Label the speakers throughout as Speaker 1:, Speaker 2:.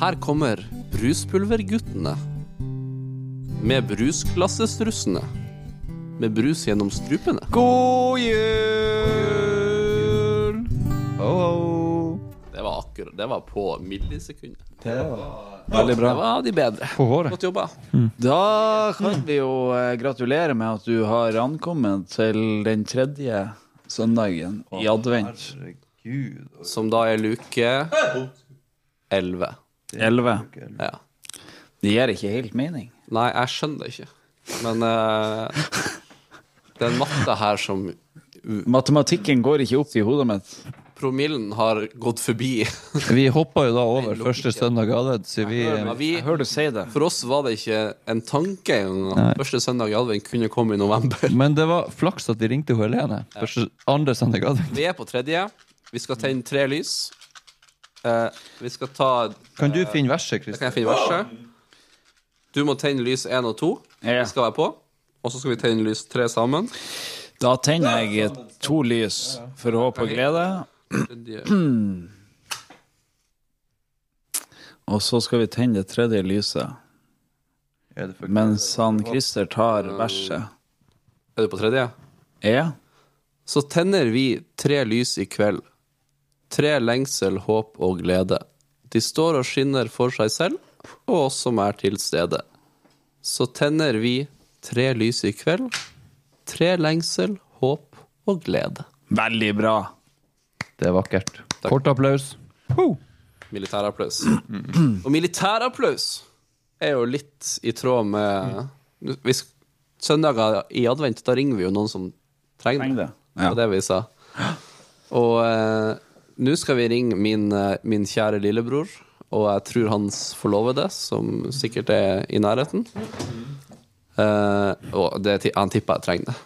Speaker 1: Her kommer Bruspulverguttene. Med brusglassestrussene. Med brus gjennom strupene.
Speaker 2: God jul! Ho, ho.
Speaker 1: Det var akkurat Det var på millisekundet.
Speaker 2: Veldig bra.
Speaker 1: Det var de bedre.
Speaker 3: På håret.
Speaker 1: Godt jobba.
Speaker 2: Da kan vi jo eh, gratulere med at du har ankommet til den tredje søndagen i advent.
Speaker 4: Herregud.
Speaker 1: Som da er luke 11.
Speaker 2: 11.
Speaker 1: Ja.
Speaker 2: Det gir ikke helt mening.
Speaker 1: Nei, jeg skjønner det ikke. Men eh, det er en matte her som
Speaker 2: Matematikken går ikke opp i hodet mitt.
Speaker 1: Promillen har gått forbi.
Speaker 3: Vi hoppa jo da over første søndag i advent, så vi
Speaker 1: Ja, vi,
Speaker 2: Jeg hører du si det.
Speaker 1: for oss var det ikke en tanke engang at første søndag i advent kunne komme i november.
Speaker 3: Men det var flaks at de ringte hun Helene. Første, andre søndag i advent.
Speaker 1: Vi er på tredje. Vi skal tenne tre lys. Eh, vi skal ta Da
Speaker 3: Kan du finne verset,
Speaker 1: kan
Speaker 3: Kristin?
Speaker 1: jeg finne verset. Du må tenne lys én og to.
Speaker 2: Ja.
Speaker 1: Vi skal være på. Og så skal vi tenne lys tre sammen.
Speaker 2: Da tenner jeg to lys for håp og glede,
Speaker 1: Tredje.
Speaker 2: og så skal vi tenne det tredje lyset
Speaker 4: Er det for
Speaker 2: mens han Christer tar verset.
Speaker 1: Er du på tredje?
Speaker 2: Ja.
Speaker 1: Så tenner vi tre lys i kveld. Tre lengsel, håp og glede. De står og skinner for seg selv og oss som er til stede. Så tenner vi tre lys i kveld. Tre lengsel, håp og glede.
Speaker 2: Veldig bra.
Speaker 3: Det er vakkert. Kort applaus. Ho!
Speaker 1: Militærapplaus. Og militærapplaus er jo litt i tråd med Hvis søndager i advent, da ringer vi jo noen som trenger
Speaker 2: Trenger
Speaker 1: det.
Speaker 2: det. Ja.
Speaker 1: Det var det vi sa. Og eh, nå skal vi ringe min, eh, min kjære lillebror, og jeg tror hans forlovede, som sikkert er i nærheten. Eh, og det, ti- han tipper jeg trenger det.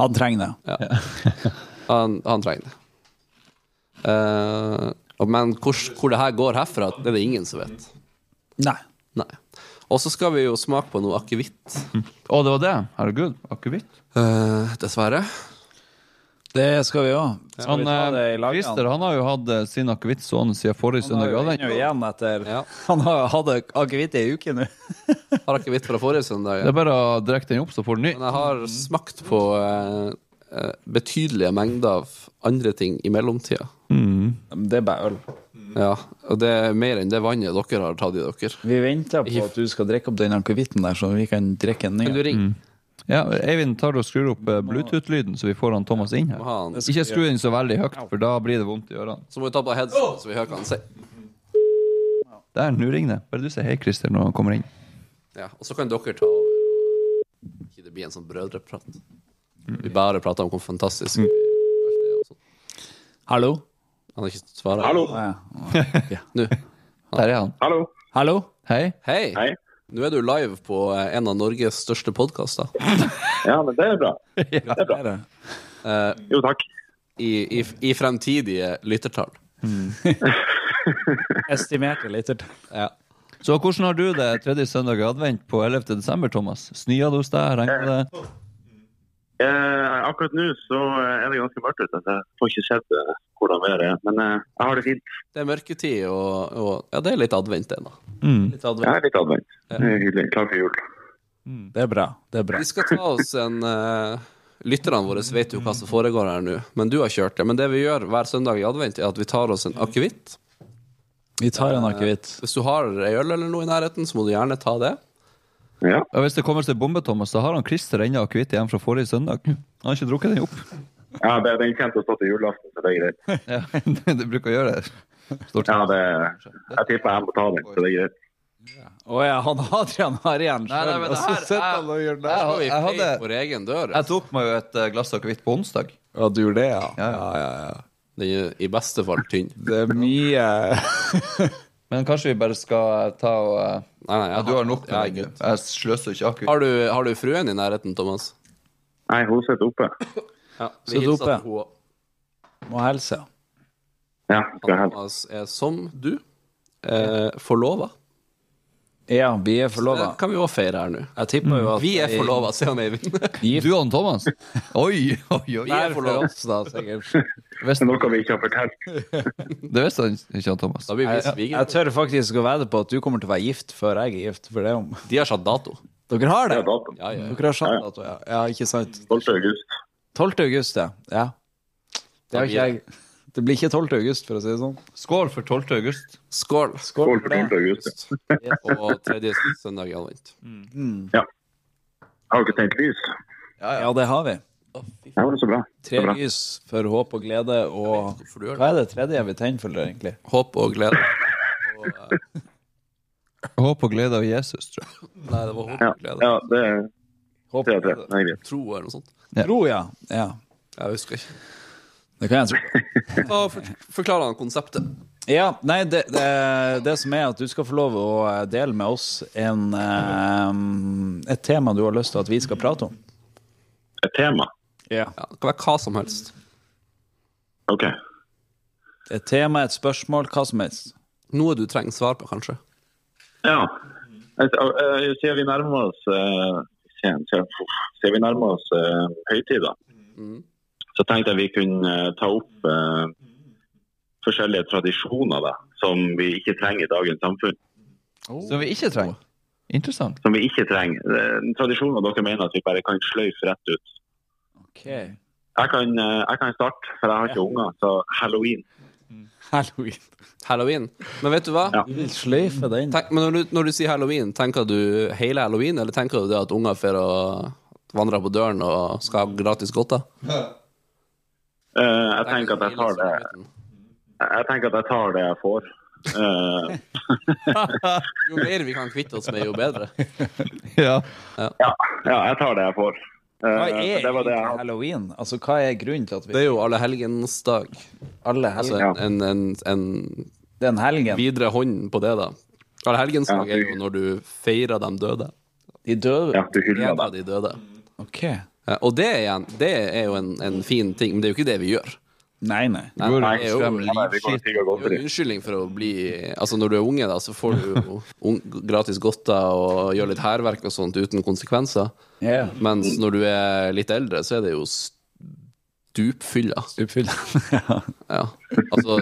Speaker 2: Han trenger det.
Speaker 1: Han, han trenger det. Eh, og- men hvor, hvor det her går herfra, det er det ingen som vet.
Speaker 2: Nei.
Speaker 1: Nei. Og så skal vi jo smake på noe akevitt,
Speaker 3: Å, det var det? Herregud. Akevitt.
Speaker 1: eh, dessverre.
Speaker 2: Det skal vi òg. Skal
Speaker 3: Han,
Speaker 2: vi ta det i
Speaker 3: eh,
Speaker 2: lag? han?
Speaker 3: Christer han har jo hatt eh, sin akevitt stående siden forrige
Speaker 2: Han
Speaker 3: søndag i
Speaker 2: har jo
Speaker 3: advent.
Speaker 2: ennå igjen etter
Speaker 1: Ja.
Speaker 2: Han har hatt akevitt i ei uke nå.
Speaker 1: Har akevitt fra forrige søndag.
Speaker 3: Det er bare å drikke den opp, så får du ny.
Speaker 1: Men jeg har smakt på eh, eh, betydelige mengder av andre ting i mellomtida.
Speaker 2: Det er bare øl.
Speaker 1: Ja, og det er mer enn det vannet dere har tatt i dere.
Speaker 2: Vi venter på at du skal drikke opp den akevitten der, så vi kan drikke en ny.
Speaker 1: Kan du ringe?
Speaker 3: Mm. Ja, Eivind tar og skrur opp eh, Bluetooth-lyden, så vi får han Thomas inn her.
Speaker 1: Ha han.
Speaker 3: Ikke skru den så veldig høyt, for da blir det vondt i ørene.
Speaker 1: Så må vi ta på headset, så vi hører hva han sier.
Speaker 3: Der, nå ringer det. Bare du sier hei, Christer, når han kommer inn.
Speaker 1: Ja, og så kan dere ta over. Ikke det blir en sånn brødreprat.
Speaker 3: Mm.
Speaker 1: Vi bare prater om hvor fantastisk vi er og sånn.
Speaker 2: Hallo?
Speaker 1: Han har ikke svart.
Speaker 2: Å, ja.
Speaker 1: Nå.
Speaker 3: Der er han.
Speaker 5: Hallo.
Speaker 2: Hallo?
Speaker 3: Hei.
Speaker 1: Hei.
Speaker 5: Hei.
Speaker 1: Nå er du live på eh, en av Norges største podkaster.
Speaker 5: Ja, men det er bra.
Speaker 2: Det er det.
Speaker 5: Jo, takk.
Speaker 1: I, i, I fremtidige lyttertall.
Speaker 2: Estimerte liter.
Speaker 1: Ja.
Speaker 3: Så hvordan har du det tredje søndag i advent på 11. desemmer, Thomas? Snøa det hos deg? Regner det?
Speaker 5: Eh, akkurat nå så eh, er det ganske mørkt ute, så jeg får ikke sett eh, hvordan været er. Men eh, jeg har det fint.
Speaker 1: Det er mørketid, og, og ja, det er litt advent ennå.
Speaker 3: Mm.
Speaker 2: Litt advent.
Speaker 5: Jeg er litt advent. Det er hyggelig. Klar for jul.
Speaker 2: Det er bra. Det er bra.
Speaker 1: Vi skal ta oss en eh, Lytterne våre vet jo hva som foregår her nå, men du har kjørt det. Men det vi gjør hver søndag i advent, er at vi tar oss en akevitt.
Speaker 2: Vi tar en akevitt.
Speaker 1: Hvis du har ei øl eller noe i nærheten, så må du gjerne ta det.
Speaker 5: Ja.
Speaker 3: Ja, hvis det kommer til bombe, Thomas, så har han Christer ennå akevitt igjen fra forrige søndag. Han har ikke drukket den opp.
Speaker 5: ja, det, den kommer til å stå til julaften, så det er greit.
Speaker 3: Ja, det bruker å gjøre det. Stort
Speaker 5: Ja,
Speaker 3: sett.
Speaker 5: det, jeg tipper jeg må ta den, så det er greit.
Speaker 2: Å ja, han Adrian har igjen
Speaker 3: Nei, nei,
Speaker 2: sjøl,
Speaker 3: men
Speaker 2: og
Speaker 3: det
Speaker 2: så
Speaker 3: her
Speaker 2: sitter
Speaker 3: er-
Speaker 2: han og gjør det.
Speaker 3: Jeg,
Speaker 1: Og vi
Speaker 3: jeg, hadde,
Speaker 1: feier vår egen dør
Speaker 3: jeg tok meg jo et eh, glass akevitt på onsdag.
Speaker 2: Ja, du gjorde det, ja.
Speaker 3: Ja, ja.
Speaker 1: Den er i beste fall tynn.
Speaker 2: Det er mye
Speaker 3: Men kanskje vi bare skal ta og eh,
Speaker 1: Nei, nei, jeg
Speaker 3: ja, Du har nok
Speaker 1: ja,
Speaker 3: med den.
Speaker 1: gutt.
Speaker 3: Jeg sløser ikke akevitt.
Speaker 1: Har du, har du fruen i nærheten, Thomas?
Speaker 5: Nei, hun sitter oppe.
Speaker 1: Ja,
Speaker 2: Så
Speaker 1: vi hilser
Speaker 2: dope.
Speaker 1: at hun
Speaker 2: Må helse.
Speaker 5: Ja, skal jeg
Speaker 1: Han
Speaker 5: hente.
Speaker 1: Thomas er som du, eh, forlova
Speaker 2: Ja, vi er
Speaker 1: Det
Speaker 2: forlova.
Speaker 1: Eh, kan vi òg feire her nå. Jeg tipper jo at Vi er forlova, sier han Eivind.
Speaker 3: Du og han Thomas? Oi, oi, oi.
Speaker 1: Vi er forlova, da, sikkert.
Speaker 3: Visste-
Speaker 5: Det er noe vi ikke har fortalt.
Speaker 3: Det visste han ikke, han Thomas.
Speaker 1: Da blir vi
Speaker 2: Jeg, jeg
Speaker 1: svigermor.
Speaker 2: tør faktisk å vedde på at du kommer til å være gift før jeg er gift. For det om.
Speaker 1: De har satt dato.
Speaker 2: Dere har
Speaker 5: Det
Speaker 2: det?
Speaker 5: er datoen.
Speaker 1: Ja, ja.
Speaker 2: Dere har satt dato, ja. ja. Ikke sant?
Speaker 5: 12. august.
Speaker 2: 12. august, ja. ja. Det,
Speaker 1: Da
Speaker 2: har
Speaker 1: blir
Speaker 2: ikke jeg. det blir ikke 12. august, for å si det sånn.
Speaker 3: Skål for 12. august.
Speaker 1: Skål.
Speaker 2: Skål
Speaker 5: 12. august. ja.
Speaker 1: Og tredje søndag i advent.
Speaker 2: Mm.
Speaker 5: Har dere tent lys?
Speaker 2: Ja, det har vi.
Speaker 5: Ja, det var så bra. Det
Speaker 2: Tre
Speaker 5: er bra.
Speaker 2: lys for håp og glede og
Speaker 1: Hvorfor du gjør det?
Speaker 2: Hva er det tredje vi tegnfølger, egentlig?
Speaker 1: Håp og glede. Og, eh,
Speaker 3: Håp og glede av Jesus, tror jeg.
Speaker 1: nei, det var håp
Speaker 5: Ja,
Speaker 1: og glede.
Speaker 5: ja det er
Speaker 2: Håp
Speaker 5: tre av
Speaker 2: og
Speaker 5: tre.
Speaker 2: glede.
Speaker 5: Det er greit.
Speaker 1: Tro eller noe sånt.
Speaker 2: Tro, ja. ja.
Speaker 1: Jeg husker ikke.
Speaker 2: Det kan jeg tro. på.
Speaker 1: Da for- forklarer han konseptet.
Speaker 2: Ja, nei, det, det, det som er at du skal få lov å eh, dele med oss en, eh, et tema du har lyst til at vi skal prate om.
Speaker 5: Et tema?
Speaker 2: Ja.
Speaker 1: Ja, det kan være hva som helst.
Speaker 5: OK.
Speaker 2: Et tema, et spørsmål, hva som helst.
Speaker 1: Noe du trenger svar på, kanskje.
Speaker 5: Ja. Altså, øh, øh, Siden vi nærmer oss øh, siden- siden- uff, siden vi nærmer oss øh, høytider,
Speaker 1: Mm.
Speaker 5: så tenkte jeg vi kunne øh, ta opp øh, forskjellige tradisjoner da, som vi ikke trenger i dagens samfunn.
Speaker 3: Som vi ikke trenger.
Speaker 2: Oh.
Speaker 3: Interessant.
Speaker 5: Som vi ikke trenger. Eh, Tradisjoner dere mener at vi bare kan sløyfe rett ut.
Speaker 2: Okay.
Speaker 5: Jeg kan, øh, jeg kan starte, for jeg har ikke unger. Så halloween.
Speaker 2: Halloween.
Speaker 1: Halloween. Men vet du hva?
Speaker 5: Ja.
Speaker 2: Du vil sløyfe den.
Speaker 1: Tenk, men når du, når du sier halloween, tenker du hele halloween, eller tenker du det at unger får å vandre på døren og skal ha gratis godter?
Speaker 5: Eh, jeg tenker at jeg tar det jeg tenker at jeg tar det jeg får. Eh,
Speaker 1: Jo mer vi kan kvitte oss med, jo bedre.
Speaker 3: Ja.
Speaker 5: ja, jeg tar det jeg får. Eh,
Speaker 2: Hva er
Speaker 5: det var det jeg
Speaker 2: egentlig
Speaker 5: hadde.
Speaker 2: halloween? Altså, hva er grunnen til at
Speaker 1: Det
Speaker 2: vi
Speaker 1: er jo allehelgens dag.
Speaker 2: alle
Speaker 1: Altså
Speaker 2: helger
Speaker 5: Ja.
Speaker 1: en, en, en
Speaker 2: Den helgen,
Speaker 1: videre hånd på det, da. Allehelgensdag er jo når du feirer dem døde.
Speaker 2: de døde
Speaker 5: Ja, du hyller
Speaker 1: En
Speaker 5: det.
Speaker 1: av de døde.
Speaker 2: Ok.
Speaker 1: Ja, Og det igjen, det er jo en, en fin ting, men det er jo ikke det vi gjør.
Speaker 2: Nei, nei.
Speaker 1: Nei,
Speaker 3: Går
Speaker 1: det
Speaker 3: og
Speaker 1: er jo
Speaker 3: skremmer
Speaker 5: Nei, vi går og
Speaker 3: livskit.
Speaker 5: tigger
Speaker 1: det er jo
Speaker 5: godteri.
Speaker 1: en unnskyldning for å bli Altså, når du er unge, da, så får du jo un gratis godter og gjør litt hærverk og sånt uten konsekvenser.
Speaker 2: Ja.
Speaker 1: Mens når du er litt eldre, så er det jo stupfylla.
Speaker 2: Oppfyll. ja.
Speaker 1: Ja. Altså,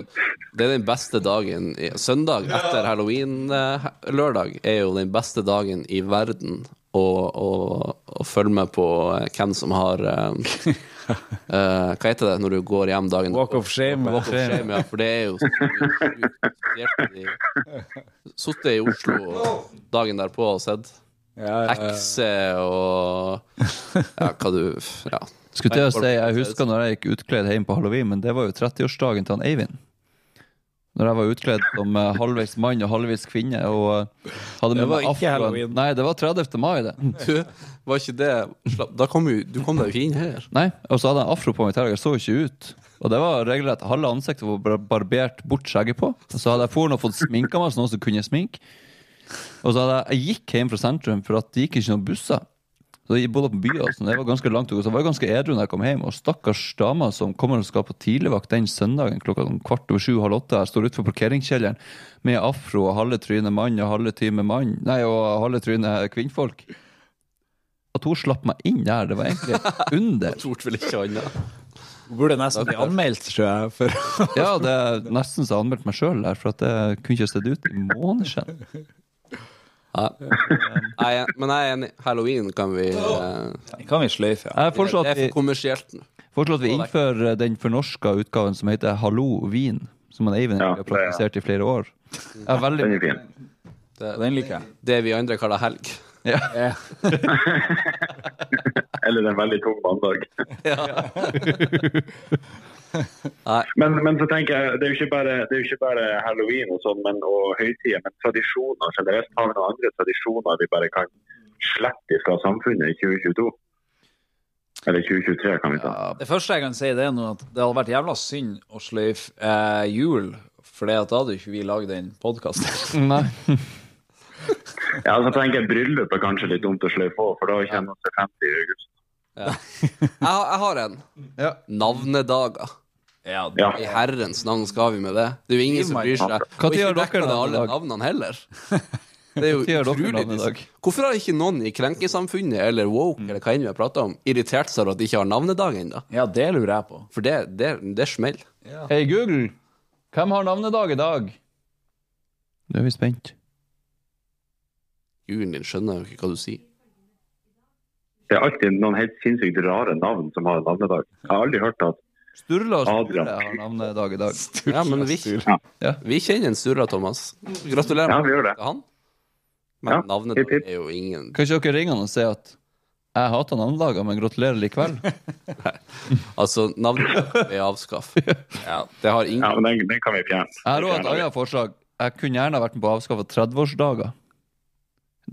Speaker 1: det er den beste dagen i- Søndag etter halloween-lørdag er jo den beste dagen i verden å, å, å følge med på eh, hvem som har eh, eh, Hva heter det når du går hjem dagen
Speaker 2: Walk of shame.
Speaker 1: Walk of shame, ja, for det er jo Sittet i Oslo og dagen derpå og sett
Speaker 2: Ja, ja, ja.
Speaker 1: hekser og Ja, hva du Ja.
Speaker 3: Skulle til å si, Jeg husker når jeg gikk utkledd hjem på halloween, men det var jo 30-årsdagen til han Eivind. Når jeg var utkledd som eh, halvveis mann og halvveis kvinne. Og eh, hadde
Speaker 2: Det
Speaker 3: med
Speaker 2: var
Speaker 3: meg
Speaker 2: ikke
Speaker 3: afroen.
Speaker 2: halloween.
Speaker 3: Nei, det var 30. mai, det.
Speaker 1: Du, var ikke det slapp- Da kom jo Du kom deg jo ikke inn her.
Speaker 3: Nei, Og så hadde jeg afro på meg i tillegg. Jeg så ikke ut. Og det var regelrett halve ansiktet var bar- barbert bort skjegget på. Og så hadde jeg foran og fått sminka meg, så noen som kunne sminke. Og så hadde jeg, jeg gikk hjem fra sentrum, for at det gikk ikke noen busser. Så jeg bodde på byen, og sånn, det var ganske langt, ut, så jeg var jo ganske edru når jeg kom hjem. Og stakkars dama som kommer og skal på tidligvakt den søndagen klokka sånn kvart over sju, halv åtte, jeg står utenfor parkeringskjelleren med afro og halve trynet mann og halve time mann, nei, og halve trynet kvinnfolk. At hun slapp meg inn der, det var egentlig et under.
Speaker 1: Torde vel ikke annet.
Speaker 2: Hun burde nesten bli anmeldt, tror jeg. For...
Speaker 3: Ja, det er nesten så jeg anmeldte meg sjøl der, for at jeg kunne ikke sett ut i måneder siden.
Speaker 1: Ja. Jeg er- Men jeg er enig. Halloween kan vi eh,
Speaker 2: Kan vi sløyfe, ja.
Speaker 3: Jeg foreslår
Speaker 1: Det
Speaker 3: at
Speaker 1: er
Speaker 3: vi,
Speaker 1: for kommersielt nå.
Speaker 3: foreslår at vi innfører den fornorska utgaven som heter Hallo Wien, som han Eivind
Speaker 5: Ja,
Speaker 3: egentlig har praktisert i flere år. Jeg er veldig
Speaker 5: Den er fin.
Speaker 1: Det,
Speaker 2: Den liker jeg.
Speaker 1: det vi andre kaller helg.
Speaker 2: Ja.
Speaker 5: Eller en veldig tung mandag.
Speaker 1: Nei.
Speaker 5: Men, men så tenker jeg, det er jo ikke bare, det er jo ikke bare halloween og sånn, men, og høytider, men tradisjoner generelt. Har vi noen andre tradisjoner vi bare kan slette fra samfunnet i 2022? Eller 2023, kan vi ta.
Speaker 2: Det første jeg kan si, det er nå at det hadde vært jævla synd å sløyfe eh, jul, for da hadde jo ikke vi lagd den podkasten.
Speaker 3: Nei.
Speaker 5: Ja, så tenker jeg bryllup er kanskje litt dumt å sløyfe på, for da kommer vi til 50 i august.
Speaker 1: Jeg, har- jeg har en.
Speaker 3: Ja.
Speaker 1: Navnedager.
Speaker 2: Ja,
Speaker 5: Ja.
Speaker 1: I herrens navn skal vi med det? Det er jo ingen som bryr seg.
Speaker 3: Hva
Speaker 1: Og
Speaker 3: tid
Speaker 1: ikke
Speaker 3: har dere
Speaker 1: dekker det alle
Speaker 3: navnedag?
Speaker 1: navnene heller. Det er jo
Speaker 3: Hva gjør dere
Speaker 1: utrolig
Speaker 3: da med i dag?
Speaker 1: Hvorfor har ikke noen i krenkesamfunnet eller woke eller hva enn vi har prata om, irritert seg over at de ikke har navnedag ennå?
Speaker 2: Ja, det lurer jeg på.
Speaker 1: For det, det, det smeller.
Speaker 3: Hei, Google, hvem har navnedag i dag? Nå er vi spent.
Speaker 1: Gulen din skjønner jo ikke hva du sier.
Speaker 5: Det er alltid noen helt sinnssykt rare navn som har navnedag. Jeg har aldri hørt at
Speaker 3: Sturla og Sture
Speaker 5: Adrian.
Speaker 3: har navnedag i dag.
Speaker 1: Ja, men vi,
Speaker 3: Ja.
Speaker 1: vi kjenner en Sturla, Thomas. Gratulerer
Speaker 5: Ja, vi gjør det.
Speaker 1: til han. Men
Speaker 5: Ja,
Speaker 1: navnet
Speaker 5: hipp, hipp.
Speaker 1: er jo ingen
Speaker 3: Kanskje dere ringer han og sier at jeg hater navnedager, men gratulerer likevel.
Speaker 1: Altså, navnet er avskaff. Det har ingen
Speaker 5: Ja, men den, den kan vi fjerne.
Speaker 3: Jeg har òg et annet forslag. Jeg kunne gjerne vært med på å avskaffe 30-årsdager.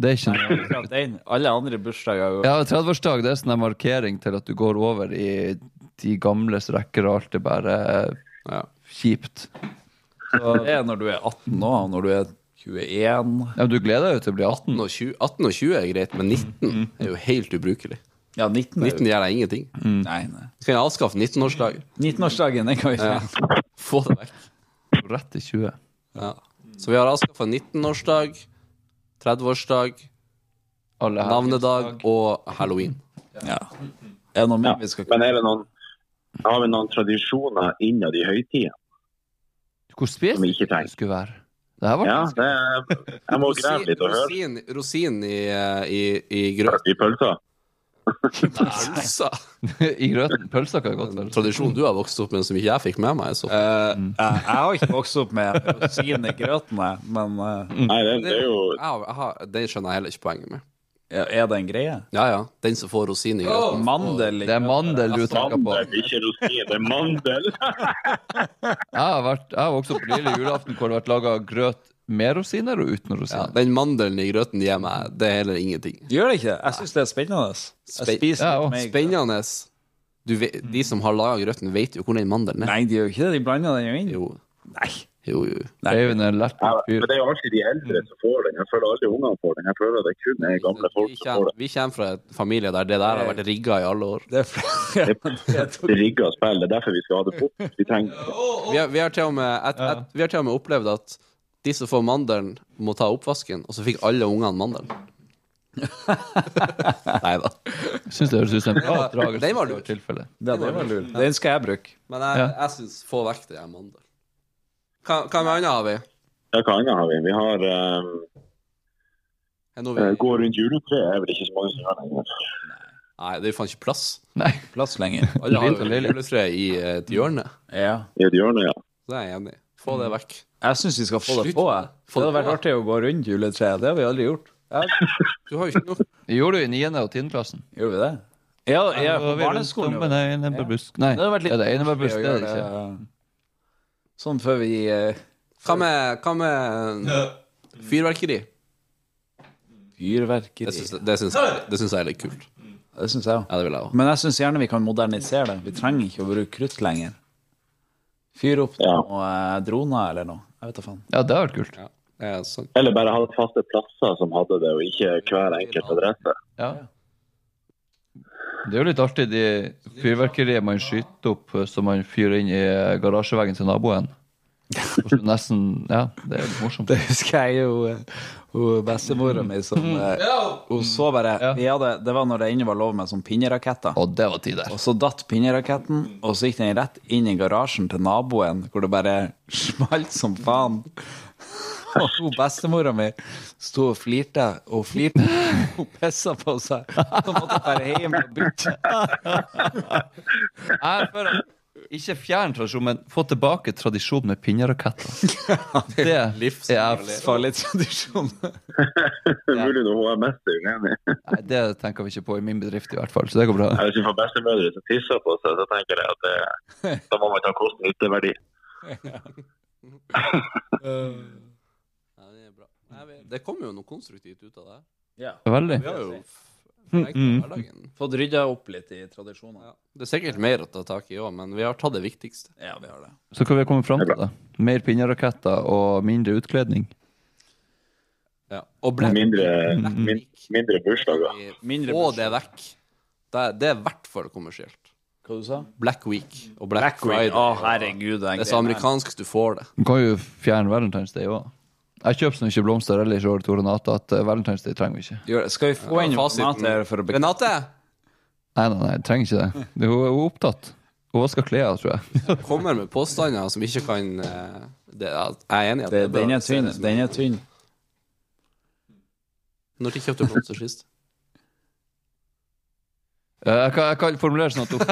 Speaker 3: Det er ikke noe.
Speaker 2: Akkurat den. Alle andre bursdager er jo
Speaker 3: Ja, 30-årsdag det er sånn en markering til at du går over i de gamles rekker, og alt er bare
Speaker 1: Ja.
Speaker 3: kjipt.
Speaker 2: Det er når du er 18 nå, når du er 21
Speaker 3: Ja, men du gleder deg jo til å bli 18.
Speaker 1: 18 og 20, 18 og 20 er greit, men 19 er jo helt ubrukelig.
Speaker 2: Ja, 19. er jo-
Speaker 1: 19 gjør deg ingenting.
Speaker 2: Nei, nei.
Speaker 1: Skal jeg avskaffe 19-årsdagen?
Speaker 2: 19-årsdagen, den kan vi
Speaker 1: Ja.
Speaker 2: ikke.
Speaker 1: Få det vekk.
Speaker 3: Rett i 20.
Speaker 1: Ja. Så vi har avskaffa 19-årsdag, 30-årsdag,
Speaker 3: Alle her.
Speaker 1: navnedag og halloween.
Speaker 2: Ja. Er det noe mer
Speaker 5: Ja.
Speaker 2: vi skal
Speaker 5: Men er det noen, har vi noen tradisjoner innad i høytiden?
Speaker 3: Hvor
Speaker 5: Som vi
Speaker 3: spesifikt
Speaker 5: ikke trenger.
Speaker 3: det skulle være. Det her var
Speaker 5: Ja, det, jeg må grave litt og høre
Speaker 1: rosin, rosin i, eh, i, i grøt.
Speaker 5: i pølsa.
Speaker 1: Pølsa.
Speaker 3: I grøten. Pølser kan jeg godt være.
Speaker 1: Tradisjon du har vokst opp med, som ikke jeg fikk med meg. Så.
Speaker 2: Eh, jeg, jeg har ikke vokst opp med rosin i grøten, jeg, men
Speaker 3: Mm.
Speaker 2: eh,
Speaker 5: Nei, det, det er jo
Speaker 1: Jeg har, jeg har, den skjønner jeg heller ikke poenget med.
Speaker 2: ja, er det en greie?
Speaker 1: Ja ja, den som får rosin i grøten.
Speaker 2: Mandel i
Speaker 3: Det er
Speaker 2: grøten.
Speaker 3: mandel du tenker på.
Speaker 5: mandel, ikke rosin. Det er mandel.
Speaker 3: Jeg har, vært, jeg har vokst opp på lille julaften hvor det har vært laga grøt med rosiner og uten
Speaker 1: Ja,
Speaker 3: rosiner.
Speaker 1: den mandelen i grøten gir meg det er heller ingenting.
Speaker 2: Gjør det ikke? Jeg syns det er spennende.
Speaker 1: Spen-
Speaker 2: Jeg spiser
Speaker 3: Ja, og
Speaker 2: litt mer grøt.
Speaker 1: Spennende. Du vet, de som har laga grøten, vet jo hvor den mandelen er.
Speaker 2: Nei, de gjør jo ikke det. De blander den jo inn.
Speaker 1: Jo,
Speaker 2: Nei.
Speaker 1: jo, jo.
Speaker 3: Eivind er en lært
Speaker 5: Ja,
Speaker 3: fyr.
Speaker 5: men det er jo alltid de eldre som får den. Jeg føler alle ungene får den. Jeg føler at det kun er gamle folk
Speaker 1: Vi
Speaker 5: som får
Speaker 1: kommer,
Speaker 5: den.
Speaker 1: vi kommer fra en familie der det der har vært rigga i alle år.
Speaker 2: Det er flere. Jeg tok-
Speaker 5: Det rigger og spiller. Det er derfor vi skal ha det bort. Vi trenger
Speaker 1: Vi har, vi har, til, og med, et, et, vi har til og med opplevd at de som får mandelen, må ta oppvasken, og så fikk alle ungene mandelen. Nei da.
Speaker 3: Syns det høres ut som en bra
Speaker 1: var-
Speaker 3: oppdragelse.
Speaker 1: den var lurt.
Speaker 3: i tilfelle.
Speaker 2: Ja, det var lurt. Den skal jeg bruke.
Speaker 1: Men jeg,
Speaker 3: Ja.
Speaker 1: jeg syns få vekk det der mandelen. Hva, hva med annet har vi?
Speaker 5: Ja, hva annet har vi? Vi har ehm,
Speaker 1: Er noe
Speaker 5: eh,
Speaker 1: vi?
Speaker 5: Gå rundt juletreet er vel ikke så mange som gjør lenger.
Speaker 1: Nei, det er jo faen ikke plass.
Speaker 3: Nei.
Speaker 2: Plass lenger.
Speaker 1: Alle har
Speaker 3: Lite og
Speaker 1: jo
Speaker 3: lille.
Speaker 1: juletre i eh, et hjørne.
Speaker 2: Ja.
Speaker 5: I et hjørne, ja.
Speaker 1: Så det er jeg enig i. Få det vekk.
Speaker 2: Jeg syns vi skal få det
Speaker 1: Slutt.
Speaker 2: på. Jeg.
Speaker 1: Få
Speaker 2: Det hadde
Speaker 1: det
Speaker 2: vært artig å gå rundt juletreet. Det har vi aldri gjort. Jeg,
Speaker 1: Du har jo ikke noe
Speaker 3: Vi gjorde det i 9. og 10. klassen.
Speaker 2: gjorde vi det? Ja, ja på barneskolen.
Speaker 3: Nei,
Speaker 2: gjorde vi det.
Speaker 3: det er
Speaker 2: vært litt-
Speaker 3: Einebærbusk, det er det ikke.
Speaker 2: Sånn før vi eh,
Speaker 1: Hva med, hva med fyrverkeri? Det
Speaker 2: Fyrverkeri.
Speaker 1: syns det syns jeg, det syns jeg er litt kult.
Speaker 2: Det syns jeg òg.
Speaker 1: Ja, det vil jeg òg.
Speaker 2: Men jeg syns gjerne vi kan modernisere det. Vi trenger ikke å bruke krutt lenger. Fyr opp
Speaker 5: Ja.
Speaker 2: noen eh, droner eller noe. Jeg vet da faen.
Speaker 3: Ja, det har vært kult.
Speaker 1: Ja, det er sant.
Speaker 5: Eller bare ha faste plasser som hadde det, og ikke hver enkelt adresse.
Speaker 3: Ja. Det er jo litt artig, de fyrverkeriet man skyter opp eh, som man fyrer inn i eh, garasjeveggen til naboen. Hvordan det Nesten Ja, det er litt morsomt.
Speaker 2: Det husker jeg jo eh, hun bestemora mi som eh, Hun så bare
Speaker 3: Ja.
Speaker 2: vi hadde, Det var når det ennå var lov med sånn pinneraketter.
Speaker 3: Og det var tider.
Speaker 2: Og så datt pinneraketten, og så gikk den rett inn i garasjen til naboen, hvor det bare smalt som faen. Og hun bestemora mi sto og flirte, og hun flirte. Hun pissa på seg. Så måtte hun bare hjem og bytte.
Speaker 3: Jeg er for at- ikke fjern tradisjonen, men få tilbake tradisjonen med pinneraketter. Det er jeg
Speaker 2: Farlig tradisjon.
Speaker 5: Mulig når hun er mest uenig.
Speaker 3: Nei, det tenker vi ikke på i min bedrift i hvert fall, så det går bra.
Speaker 5: Jeg vet ikke, for bestemødre som tisser på seg, så tenker jeg at det, da må man ta kosten nytteverdi.
Speaker 1: Ja, det er bra. Nei, vi- det kommer jo noe konstruktivt ut av det. Vi
Speaker 3: Veldig.
Speaker 1: har jo f-
Speaker 2: Mm,
Speaker 1: forenklet hverdagen.
Speaker 2: Fått rydda opp litt i tradisjoner.
Speaker 1: Ja. Det er sikkert mer å ta tak i òg, men vi har tatt det viktigste.
Speaker 2: Ja, vi har det.
Speaker 3: Så hva vi har kommet fram til, da? Mer pinneraketter og mindre utkledning.
Speaker 1: Ja. Og black,
Speaker 5: Mindre,
Speaker 1: black
Speaker 2: Mm.
Speaker 5: min,
Speaker 1: week.
Speaker 5: mindre bursdager.
Speaker 1: Mindre
Speaker 2: Mindre
Speaker 1: Få det vekk. Det er, det er i hvert fall kommersielt.
Speaker 2: Hva du sa
Speaker 1: Black Week og Black, Friday.
Speaker 2: Å, herregud. den
Speaker 1: Det er så
Speaker 2: greien her.
Speaker 1: amerikansk du får det.
Speaker 3: Du kan jo fjerne Valentine's Day òg. Jeg kjøper sånn ikke blomster eller ikke år til Renate at eh, Valentine's Day trenger vi ikke.
Speaker 2: Gjør det. Skal vi få inn
Speaker 1: Ja, fasiten.
Speaker 2: Renate her for å bekrefte
Speaker 1: Renate!
Speaker 3: Nei, nei, nei, jeg trenger ikke det. det hun, hun er opptatt. Hun vasker klær, tror jeg.
Speaker 1: Kommer med påstander som ikke kan eh, det, Jeg er enig i at
Speaker 2: det?
Speaker 1: bør
Speaker 2: Den er
Speaker 1: jeg se
Speaker 2: tynn.
Speaker 1: det som-
Speaker 2: Den er tynn.
Speaker 1: Når de kjøpte blomster sist?
Speaker 3: Eh, Jeg kan, jeg kan formulere sånn at hun
Speaker 1: Nei,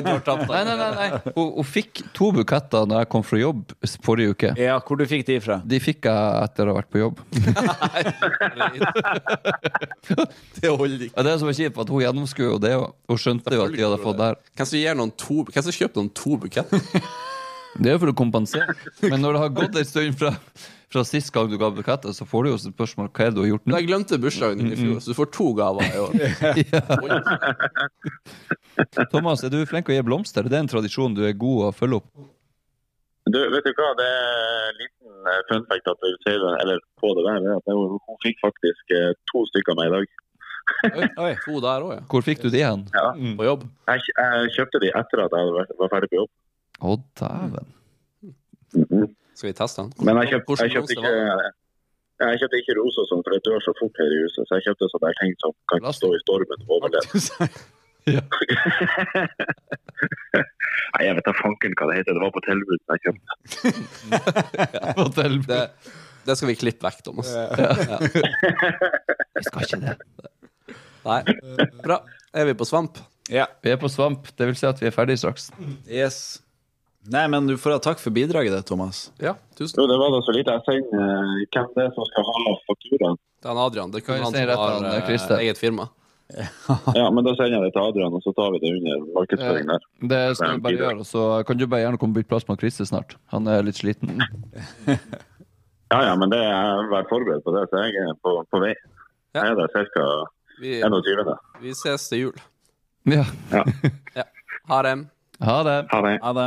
Speaker 1: du har tapt
Speaker 3: Nei, nei, nei, nei. Hun, hun fikk to buketter når jeg kom fra jobb s- forrige uke.
Speaker 2: Ja, hvor du fikk de fra?
Speaker 3: De fikk jeg etter å ha vært på jobb.
Speaker 1: Det holder ikke.
Speaker 3: Og det som er kjipt, at hun gjennomskuer jo det òg. Hun skjønte jo at de hadde fått der.
Speaker 1: Hvem som gir noen to Hvem som kjøper noen to buketter?
Speaker 3: Det er jo for å kompensere. Men når det har gått en stund fra, fra sist gang du ga buketter, så får du jo spørsmål hva er det du har gjort nå.
Speaker 1: Jeg glemte bursdagen din i fjor, så du får to gaver i år. Oi.
Speaker 3: Thomas, er du flink å gi blomster? Det er en tradisjon du er god å følge opp.
Speaker 5: Du, vet du hva, det er en liten eh, fun fact at du sier det, eller på det der, det er at hun hun fikk faktisk eh, to stykker av meg i dag.
Speaker 2: Oi.
Speaker 1: To der òg, ja.
Speaker 3: Hvor fikk du de hen? Mm.
Speaker 5: Ja.
Speaker 1: På jobb.
Speaker 5: Jeg, kj- jeg kjøpte de etter at jeg var- var ferdig på jobb.
Speaker 3: Å, dæven.
Speaker 1: Skal vi teste den?
Speaker 5: Men jeg kjøpte,
Speaker 1: Hvordan
Speaker 5: jeg kjøpte
Speaker 1: blomster
Speaker 5: ikke...
Speaker 1: var det?
Speaker 5: Nei, Jeg kjøpte ikke roser og sånn, for det dør så fort her i huset. Så jeg kjøpte sånn der ting som kan
Speaker 3: Plast.
Speaker 5: stå i stormen og overleve. Nei, jeg vet da fanken hva det heter. Det var på tilbud. så Jeg kjøpte.
Speaker 3: Hotell.
Speaker 1: det, det skal vi klippe vekk, Thomas. Ja.
Speaker 3: Jeg skal ikke det.
Speaker 1: Nei. Bra. Er vi på svamp?
Speaker 2: Ja.
Speaker 3: Vi er på svamp. Det vil si at vi er ferdige straks.
Speaker 2: Yes. Nei, men du får ha takk for bidraget, det, Thomas.
Speaker 1: Ja. Tusen takk.
Speaker 5: Jo, det var da så lite. Jeg sender eh, hvem det er som skal ha fakturaen.
Speaker 1: Det er han Adrian. Det
Speaker 3: Kan
Speaker 1: er
Speaker 3: vi
Speaker 1: han
Speaker 3: si
Speaker 1: som
Speaker 3: rett
Speaker 1: har
Speaker 3: an, det er
Speaker 1: eh,
Speaker 3: Christer.
Speaker 1: eget firma.
Speaker 5: Ja, men da sender jeg det til Adrian, og så tar vi det under markedsføringen der.
Speaker 3: Det skal vi bare gjøre. og Så kan du bare gjerne komme og bytte plass med Christer snart. Han er litt sliten.
Speaker 5: Ja, ja, men det er vær forberedt på det, så jeg er på, på vei.
Speaker 1: Ja.
Speaker 5: Jeg er der ca.
Speaker 1: Vi,
Speaker 5: 21.
Speaker 1: vi ses til jul.
Speaker 3: Ja.
Speaker 1: Ha det.
Speaker 3: Ha det.
Speaker 5: Ha det.
Speaker 2: Ha det.